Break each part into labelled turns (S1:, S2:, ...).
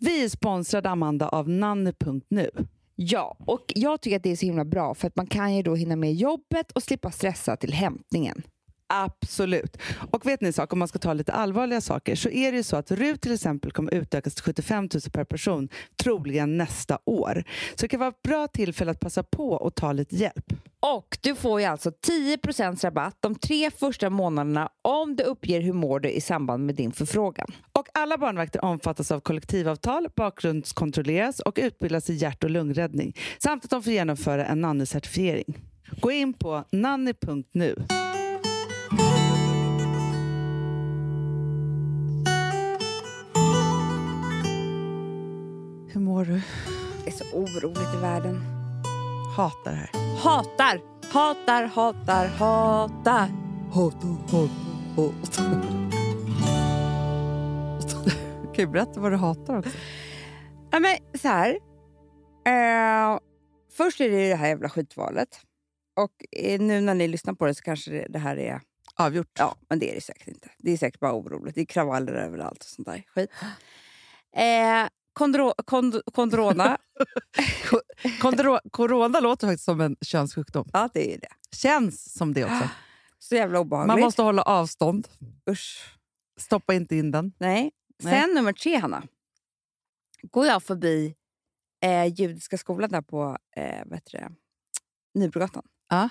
S1: Vi är sponsrade, Amanda, av nanny.nu.
S2: Ja, och jag tycker att det är så himla bra för att man kan ju då hinna med jobbet och slippa stressa till hämtningen.
S1: Absolut. Och vet ni en sak, om man ska ta lite allvarliga saker så är det ju så att RUT till exempel kommer utökas till 75 000 per person troligen nästa år. Så det kan vara ett bra tillfälle att passa på och ta lite hjälp.
S2: Och du får ju alltså 10 rabatt de tre första månaderna om du uppger hur mår du i samband med din förfrågan.
S1: Och alla barnvakter omfattas av kollektivavtal, bakgrundskontrolleras och utbildas i hjärt och lungräddning samt att de får genomföra en nannycertifiering. Gå in på nanny.nu. Hur mår du?
S2: Det är så oroligt i världen.
S1: Hatar det här.
S2: Hatar, hatar, hatar, hatar.
S1: Hatar, hatar, hatar. Kan du berätta vad du hatar också?
S2: Ja, men så här. Eh, först är det ju det här jävla skitvalet. Och eh, nu när ni lyssnar på det så kanske det, det här är...
S1: Avgjort.
S2: Ja, men det är det säkert inte. Det är säkert bara oroligt. Det är kravaller överallt och sånt där skit. Eh, kondro, kond, kondrona.
S1: Kondro, corona låter faktiskt som en könssjukdom.
S2: ja, det är ju det.
S1: Känns som det också.
S2: Så jävla obehagligt.
S1: Man måste hålla avstånd.
S2: Usch.
S1: Stoppa inte in den.
S2: Nej. Sen
S1: Nej.
S2: nummer tre, Hanna. Går jag förbi eh, judiska skolan där på eh, vad heter det? Nybrogatan.
S1: Ja.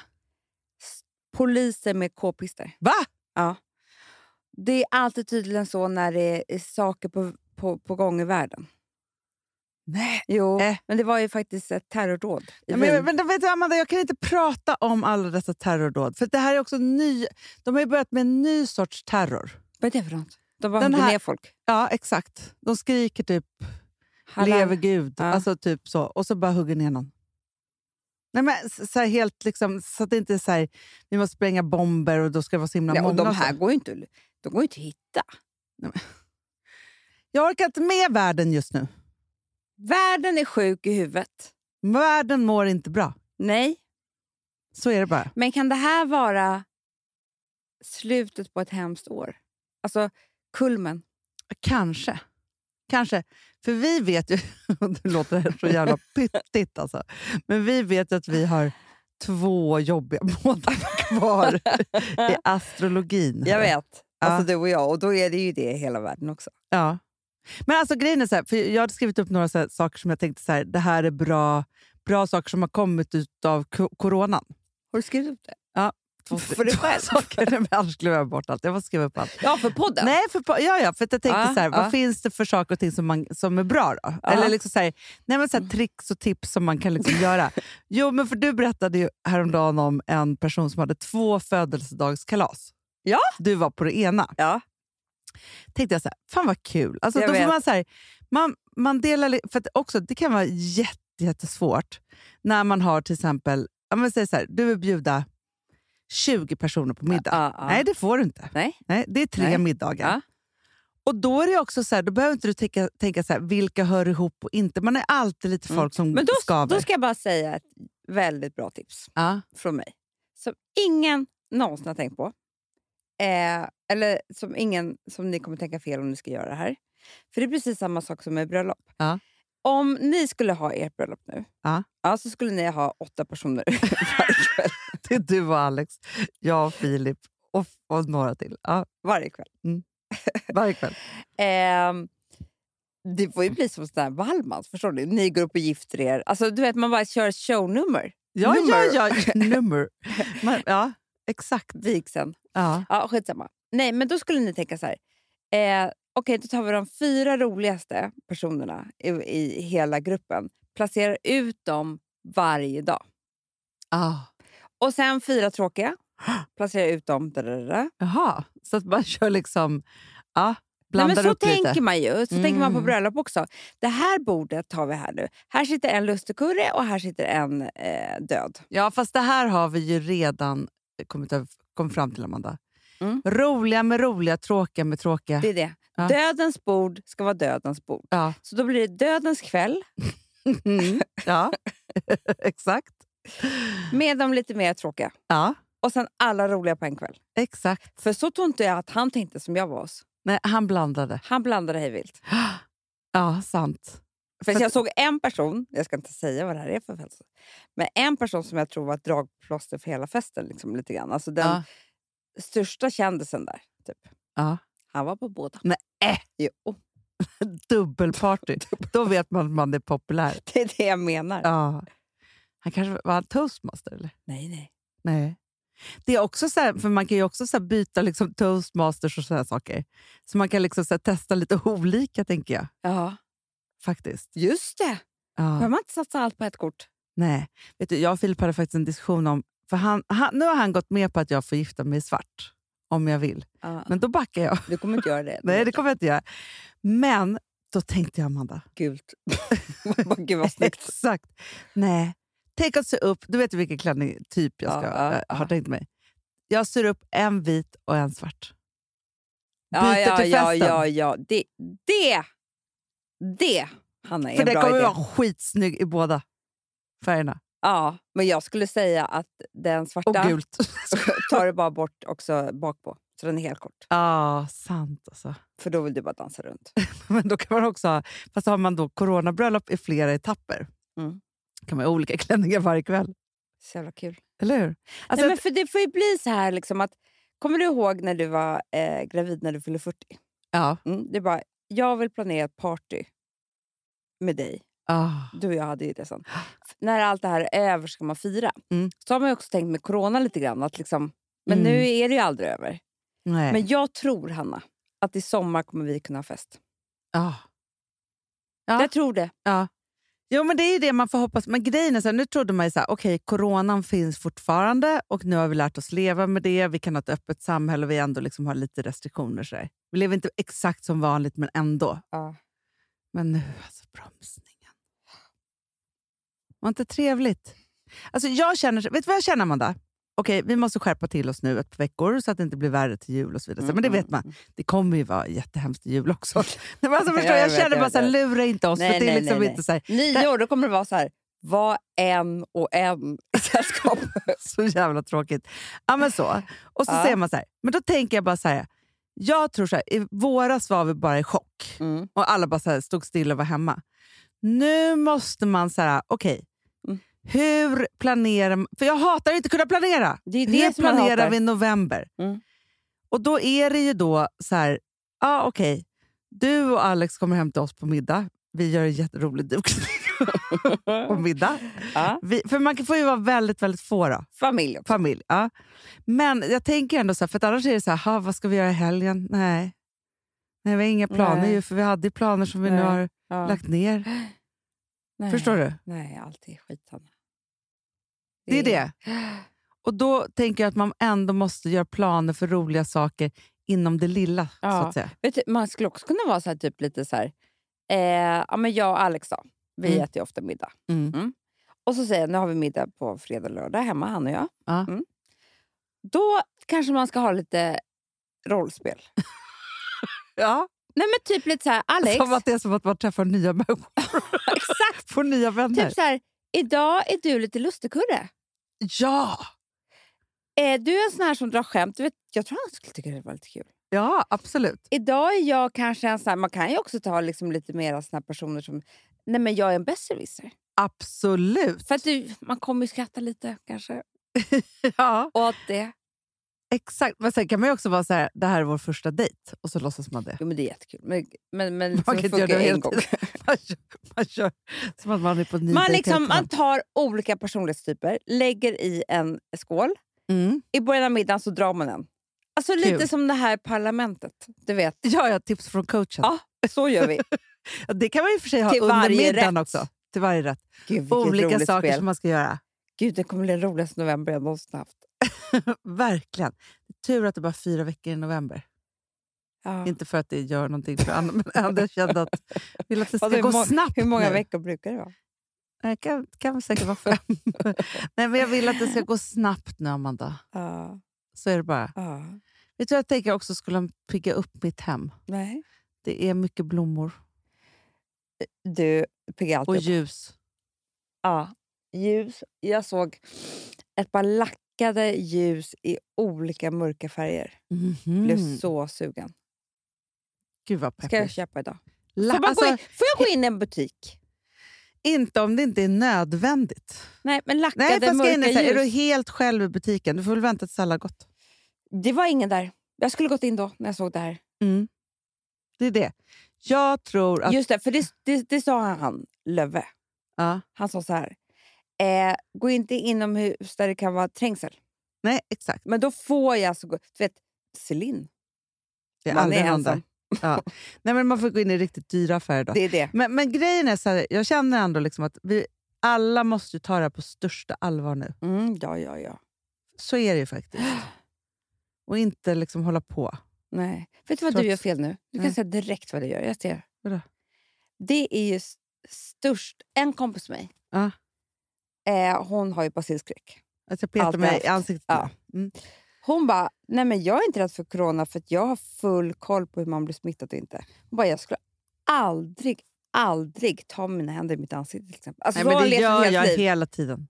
S2: S- Poliser med k-pister.
S1: Va?
S2: Ja. Det är alltid tydligen så när det är saker på, på, på gång i världen.
S1: Nej.
S2: Jo,
S1: Äh.
S2: men det var ju faktiskt ett terrordåd i
S1: Men,
S2: Wien.
S1: men, men vet du, Amanda, jag kan inte prata om alla dessa terrordåd. För det här är också ny, de har ju börjat med en ny sorts terror.
S2: Vad är det för något? De bara
S1: Den
S2: hugger
S1: här-
S2: ner folk.
S1: Ja, exakt. De skriker typ
S2: Halal.
S1: lever Gud,
S2: Ja.
S1: alltså typ så. Och så bara hugger ner någon. Nej, men s- så, här helt liksom, så att det inte är så här, vi måste spränga bomber och då ska det vara så himla
S2: Nej,
S1: många.
S2: och de
S1: och så.
S2: här går ju inte, de går ju inte att hitta.
S1: Jag orkar inte med världen just nu.
S2: Världen är sjuk i huvudet.
S1: Världen mår inte bra.
S2: Nej,
S1: Så är det bara.
S2: men kan det här vara slutet på ett hemskt år? Alltså kulmen.
S1: Kanske. Kanske. För vi vet ju... Det låter här så jävla pyttigt alltså. Men vi vet ju att vi har två jobbiga månader kvar i astrologin.
S2: Jag vet.
S1: Ja.
S2: Alltså du och jag. Och då är det ju det i hela världen också.
S1: Ja. Men alltså grejen är så här, för jag hade skrivit upp några så här, saker som jag tänkte så här, det här är bra, bra saker som har kommit ut av co- coronan.
S2: Har du skrivit upp det?
S1: Två-
S2: För dig
S1: två
S2: själv?
S1: Saker, Nej, men annars glömmer jag bort allt. Jag måste skriva upp allt.
S2: Ja, för podden.
S1: Nej, för, på- ja, ja, för att jag tänkte
S2: Ja,
S1: så här,
S2: ja.
S1: vad finns det för saker och ting som, man, som är bra då?
S2: Ja.
S1: Eller liksom så här, nej, men så här, tricks och tips som man kan liksom göra. Jo, men för du berättade ju häromdagen om en person som hade två födelsedagskalas.
S2: Ja.
S1: Du var på det ena.
S2: Ja.
S1: tänkte jag så här, fan vad kul. Alltså,
S2: Jag
S1: då
S2: vet.
S1: får man, så här, man, man delar, li- för att också, det kan vara jätte, jättesvårt när man har till exempel, om man säger så här, du vill bjuda 20 personer på middag.
S2: Ja, ja.
S1: Nej, det får du inte.
S2: Nej.
S1: det är tre
S2: Nej.
S1: middagar.
S2: Ja.
S1: Och då är det också så här, då behöver inte du tänka, tänka så här, vilka hör ihop och inte. Man är alltid lite folk som
S2: Mm. Men då,
S1: skaver.
S2: då ska jag bara säga ett väldigt bra tips
S1: ja.
S2: från mig. Som ingen någonsin har tänkt på. Eh, eller som ingen som ni kommer tänka fel om ni ska göra det här. För det är precis samma sak som med bröllop.
S1: Ja.
S2: Om ni skulle ha ert bröllop nu,
S1: Ja.
S2: så skulle ni ha åtta personer varje kväll.
S1: Det är du och Alex, jag och Filip och, och några till. Ja,
S2: Varje kväll.
S1: varje kväll.
S2: Ehm, det får ju bli som sån här Wallmans, förstår ni? Ni går upp och gifter er. Alltså, du vet, man bara kör shownummer.
S1: Ja,
S2: Nummer.
S1: ja, ja, nummer. Man, ja, exakt.
S2: Vigseln.
S1: Ja.
S2: Ja, skitsamma. Nej, men då skulle ni tänka så här. Eh, Okej, då tar vi de fyra roligaste personerna i, i hela gruppen. Placerar ut dem varje dag.
S1: Ah.
S2: Och sen fyra tråkiga. Placerar ut dem. Da, da, da, da.
S1: Jaha, så att man kör liksom... Ja,
S2: Nej,
S1: blandar
S2: men så
S1: upp lite.
S2: tänker man ju. Så tänker man på
S1: Mm.
S2: bröllop också. Det här bordet tar vi här nu. Här sitter en lustigkurre och här sitter en eh, död.
S1: Ja, fast det här har vi ju redan kommit, över, kommit fram till, Amanda.
S2: Mm.
S1: Roliga med roliga, tråkiga med tråkiga.
S2: Det är det.
S1: Ja.
S2: Dödens bord ska vara dödens bord.
S1: Ja,
S2: Så då blir det dödens kväll
S1: mm. ja. exakt.
S2: med de lite mer tråkiga.
S1: Ja,
S2: Och sen alla roliga på en kväll.
S1: exakt.
S2: För så tror inte jag att han tänkte som jag var. Oss.
S1: Nej, han blandade.
S2: Han blandade hej vilt.
S1: Ja, sant.
S2: För
S1: För-
S2: jag såg en person, jag ska inte säga vad det här är för fest, men en person som jag tror var ett dragplåster för hela festen. Liksom, lite grann. Alltså den
S1: Ja.
S2: största kändisen där. Typ.
S1: Ja.
S2: Han var på båda.
S1: Nej, äh.
S2: Jo,
S1: Dubbelparty. Då vet man att man är populär.
S2: det är det jag menar.
S1: Ja. Han kanske var han toastmaster? Eller?
S2: Nej, nej.
S1: Nej. Det är också så här, för Man kan ju också så här byta liksom toastmasters och sådana saker. Så man kan liksom så här testa lite olika, tänker jag.
S2: Ja,
S1: faktiskt.
S2: just det.
S1: Ja.
S2: Behöver man inte satsa allt på ett kort?
S1: Nej. Vet du, jag och Filip hade faktiskt en diskussion om... För han, han, nu har han gått med på att jag får gifta mig svart, om jag vill.
S2: Ja.
S1: Men då backar jag.
S2: Du kommer inte göra det.
S1: Nej, det kommer jag inte göra. Men då tänkte jag, Amanda...
S2: Gult. Bara, Gud vad snyggt.
S1: Exakt. Nej. Tänk att sy upp... Du vet ju vilken klänning typ jag ska,
S2: Ja, ja,
S1: jag har
S2: ja.
S1: tänkt mig. Jag syr upp en vit och en svart.
S2: Ja,
S1: Byter
S2: ja,
S1: till
S2: ja,
S1: festen.
S2: ja, ja. Det, det, det Hanna, är
S1: För
S2: en
S1: det
S2: bra
S1: kommer
S2: idé.
S1: vara skitsnygg i båda färgerna.
S2: Ja, men jag skulle säga att den
S1: Och
S2: svarta
S1: gult.
S2: tar du bara bort också bak på. Så den är helt kort.
S1: Ja, sant alltså.
S2: För då vill du bara dansa runt.
S1: Men då kan man också ha, fast har man då coronabröllop i flera etapper
S2: Mm.
S1: kan man ha olika klänningar varje kväll.
S2: Så jävla kul.
S1: Eller hur? Alltså,
S2: Nej, men för det får ju bli så här liksom att... Kommer du ihåg när du var eh, gravid när du fyllde 40?
S1: ja.
S2: Mm, det är bara, jag vill planera ett party med dig.
S1: Ah.
S2: Du och jag hade ju det sen. F- När allt det här är över ska man fira.
S1: Mm.
S2: Så har man ju också tänkt med corona lite grann. Att liksom, men
S1: Mm.
S2: nu är det ju aldrig över.
S1: Nej.
S2: Men jag tror, Hanna, att i sommar kommer vi kunna ha fest.
S1: ah. Ja.
S2: Jag tror det.
S1: Jo, men det är ju det man får hoppas. Men grejen är så här, nu trodde man ju så här, okej, coronan finns fortfarande och nu har vi lärt oss leva med det. Vi kan ha ett öppet samhälle och vi ändå liksom har lite restriktioner. Så här. Vi lever inte exakt som vanligt, men ändå.
S2: Ja.
S1: Men nu, alltså bromsningen. Var inte trevligt? Alltså jag känner, vet du vad jag känner, Amanda? Okej, vi måste skärpa till oss nu ett par veckor så att det inte blir värre till jul och så vidare.
S2: Mm,
S1: Så, Men det vet man, det kommer ju vara jättehemskt till jul också. Nej, men alltså,
S2: Ja,
S1: förstår, jag,
S2: jag vet,
S1: känner
S2: jag
S1: bara
S2: vet,
S1: så här,
S2: jag
S1: lura inte oss.
S2: Nej,
S1: för det är
S2: nej,
S1: liksom
S2: nej,
S1: inte så här,
S2: Nio år, då kommer det vara så här. Var en och en i sällskap.
S1: Så jävla tråkigt. Ja, men så. Och så
S2: Ja.
S1: säger man så här. Men då tänker jag bara så här. Jag tror så här, i våras var vi bara i chock.
S2: Mm.
S1: Och alla bara så här, stod stilla och var hemma. Nu måste man så här, okej.
S2: Mm.
S1: Hur planerar man? För jag hatar ju inte att kunna planera.
S2: Det är
S1: Hur
S2: det som man
S1: planerar
S2: hatar.
S1: vi november?
S2: Mm.
S1: Och då är det ju då så här, ja okej. Du och Alex kommer hem till oss på middag. Vi gör en jätterolig dukning på middag.
S2: Ja.
S1: Vi, för man får ju vara väldigt, väldigt få då
S2: Familj också.
S1: familj. Ja. Men jag tänker ändå så här, för att annars är det så här, "Ha, vad ska vi göra i helgen? Nej. Nej, vi har inga planer
S2: Nej.
S1: ju, för vi hade ju planer som vi nu
S2: Nej.
S1: har
S2: Ja.
S1: lagt ner.
S2: Nej.
S1: Förstår du?
S2: Nej, allt är skit, Hanna.
S1: Det är det. Och då tänker jag att man ändå måste göra planer för roliga saker inom det lilla, så
S2: Ja.
S1: att säga.
S2: Vet du, man skulle också kunna vara så här, typ lite så här... Eh, ja, men jag och Alex då, vi
S1: Mm.
S2: äter ju ofta middag.
S1: Mm.
S2: Och så säger jag, nu har vi middag på fredag och lördag hemma, han och jag.
S1: Ja.
S2: Mm. Då kanske man ska ha lite rollspel.
S1: Ja,
S2: Nej men typ lite så här, Alex.
S1: Som att det är som att man träffar nya människor,
S2: Exakt,
S1: får nya vänner.
S2: typ så här, idag är du lite lustigkurre.
S1: Ja!
S2: Eh, du är en sån här som drar skämt. Du vet, jag tror han skulle tycka det var lite kul.
S1: Ja, absolut.
S2: Idag är jag kanske en sån här, man kan ju också ta liksom lite mera såna här personer som, nej men jag är en besserwisser.
S1: Absolut.
S2: För att du, man kommer ju skratta lite kanske
S1: Ja,
S2: åt det.
S1: exakt. Men sen kan man ju också vara så här, det här är vår första dejt, och så låtsas man det.
S2: Jo men det är jättekul. Men, men, men liksom,
S1: Man kan
S2: det
S1: inte göra
S2: funkar
S1: det
S2: en
S1: hela tiden.
S2: gång.
S1: Man kör, man kör som att man är på en ny
S2: Man,
S1: dejt
S2: liksom,
S1: hela
S2: man
S1: tiden.
S2: tar olika personlighetstyper, lägger i en skål.
S1: mm.
S2: I början av middagen så drar man en. Alltså
S1: Kul.
S2: lite som det här parlamentet. Du vet,
S1: Ja, ja, tips från coachen.
S2: Ja. så gör vi.
S1: Ja, Det kan man ju i och för sig ha
S2: Till
S1: under
S2: varje
S1: middagen
S2: rätt.
S1: också. Till varje rätt.
S2: Gud, vilket
S1: Olika
S2: roligt
S1: saker
S2: spel.
S1: som man ska göra.
S2: Gud, det kommer bli den roligaste november jag någonsin haft.
S1: Verkligen. Tur att det bara är fyra veckor i november.
S2: Ja.
S1: Inte för att det gör någonting för andra, men ändå jag kände att, vill att det ska
S2: Alltså, hur
S1: gå
S2: må-
S1: snabbt
S2: Hur många
S1: nu.
S2: veckor brukar det vara?
S1: Det kan, kan säkert vara fem. Nej, men jag vill att det ska gå snabbt nu, Amanda.
S2: Ja.
S1: Så är det bara.
S2: ja.
S1: Vet du vad jag tänker också skulle pigga upp mitt hem?
S2: Nej.
S1: Det är mycket blommor
S2: Du piggar alltid
S1: och
S2: upp.
S1: ljus.
S2: Ja, ljus. Jag såg ett par lackade ljus i olika mörka färger.
S1: Mhm.
S2: Blev så sugen.
S1: Gud vad peppigt.
S2: Ska jag köpa idag?
S1: La,
S2: Får, man
S1: alltså,
S2: gå in, får jag gå in i en butik?
S1: Inte om det inte är nödvändigt.
S2: Nej, men
S1: Nej,
S2: lackade
S1: fast grejen är,
S2: mörka
S1: så här, är du
S2: ljus.
S1: helt själv i butiken, du får väl vänta tills alla har gått.
S2: Det var ingen där. Jag skulle gått in då när jag såg det här.
S1: Mm. Det är det. Jag tror att...
S2: Just det, för det, det, det sa han, han Löve.
S1: Ja.
S2: Han sa så här. Eh, gå inte inomhus där det kan vara trängsel.
S1: Nej, exakt.
S2: Men då får jag alltså gå... Du vet, Celine.
S1: Det är
S2: man
S1: aldrig
S2: är
S1: någon där.
S2: ensam.
S1: Ja. Nej, men man får gå in i riktigt dyra affärer då.
S2: Det är det.
S1: Men, men grejen är så här, jag känner ändå liksom att vi alla måste ju ta det här på största allvar nu.
S2: Mm, ja, ja, ja.
S1: Så är det ju faktiskt. Och inte liksom hålla på.
S2: Nej. Vet du vad
S1: Trots-
S2: du gör fel nu? Du kan
S1: Nej.
S2: säga direkt vad du gör. Jag ser.
S1: Vadå?
S2: Det är ju s- störst... En kompis med mig,
S1: Ja.
S2: eh, hon har ju basilskräck.
S1: Att jag petar
S2: Alltid
S1: mig
S2: haft.
S1: i ansiktet.
S2: Ja.
S1: Mm.
S2: Hon bara, nej men jag är inte rädd för corona för att jag har full koll på hur man blir smittad och inte. Hon bara, jag skulle aldrig, aldrig ta mina händer i mitt ansikte till exempel. Alltså,
S1: Nej,
S2: så
S1: men
S2: har
S1: det
S2: hon levt ett
S1: gör
S2: helt
S1: jag
S2: liv.
S1: hela tiden.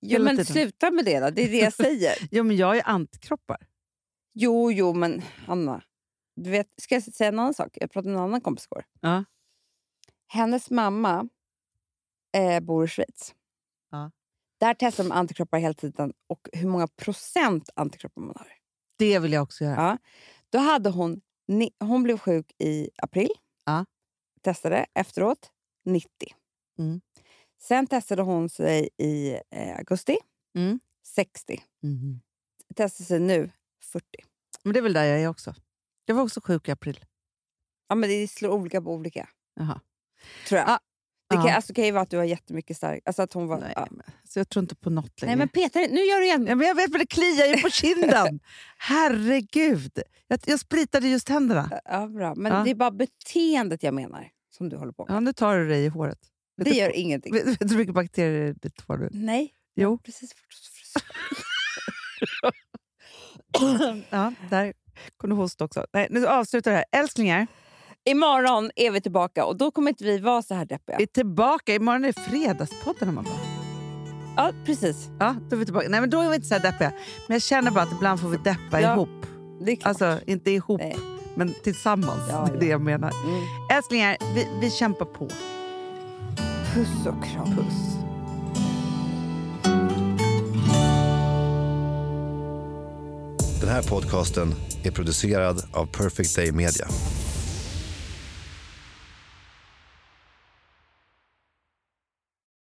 S2: Jo,
S1: hela
S2: men
S1: tiden.
S2: sluta med det då. Det är det jag säger.
S1: Jo, men jag är antikroppar.
S2: jo, jo, men Hanna. Du vet, ska jag säga en annan sak? Jag pratade med en annan kompis igår.
S1: Ja.
S2: Hennes mamma eh, bor i Schweiz.
S1: Ja.
S2: Där testar de antikroppar hela tiden och hur många procent antikroppar man har.
S1: Det vill jag också göra.
S2: Ja. Då hade hon, ni- hon blev sjuk i april.
S1: Ja.
S2: Testade efteråt 90.
S1: Mm.
S2: Sen testade hon sig i eh, augusti.
S1: Mm.
S2: 60.
S1: Mhm.
S2: Testade sig nu 40.
S1: Men det är väl där jag är också. Jag var också sjuk i april.
S2: Ja, men det slår olika på olika.
S1: Jaha.
S2: Tror jag.
S1: Ja.
S2: Det kan,
S1: Ja.
S2: alltså, kan ju vara att du har jättemycket stark... Alltså att hon var...
S1: Nej,
S2: Nej, ja.
S1: men, så jag tror inte på något längre.
S2: Nej men Peter, nu gör du igen.
S1: Ja, men jag vet, men det kliar ju på kinden. Herregud. Jag, jag spritade just händerna.
S2: Ja, bra. Men
S1: Ja.
S2: det är bara beteendet jag menar som du håller på med.
S1: Ja, nu tar du dig i håret. Vet
S2: det
S1: du-
S2: gör ingenting.
S1: Vet, vet du hur mycket bakterier det är i ditt hår nu?
S2: Nej.
S1: Jo.
S2: Precis för
S1: Ja, där kom du hosta också. Nej, nu avslutar det här. Älsklingar,
S2: Imorgon är vi tillbaka och då kommer inte vi vara så här deppiga.
S1: vi är tillbaka. Imorgon är Fredagspodden. Mamma.
S2: Ja, precis.
S1: Ja, då är vi tillbaka. Nej, men då är vi inte så här deppiga. Men jag känner bara att ibland får vi deppa
S2: Ja,
S1: ihop.
S2: Det är klart.
S1: Alltså, inte ihop,
S2: Nej.
S1: men tillsammans.
S2: Ja,
S1: det är
S2: ja.
S1: det jag menar.
S2: Mm.
S1: Älsklingar, vi, vi kämpar på.
S2: Puss och kram.
S1: Puss.
S3: Den här podcasten är producerad av Perfect Day Media.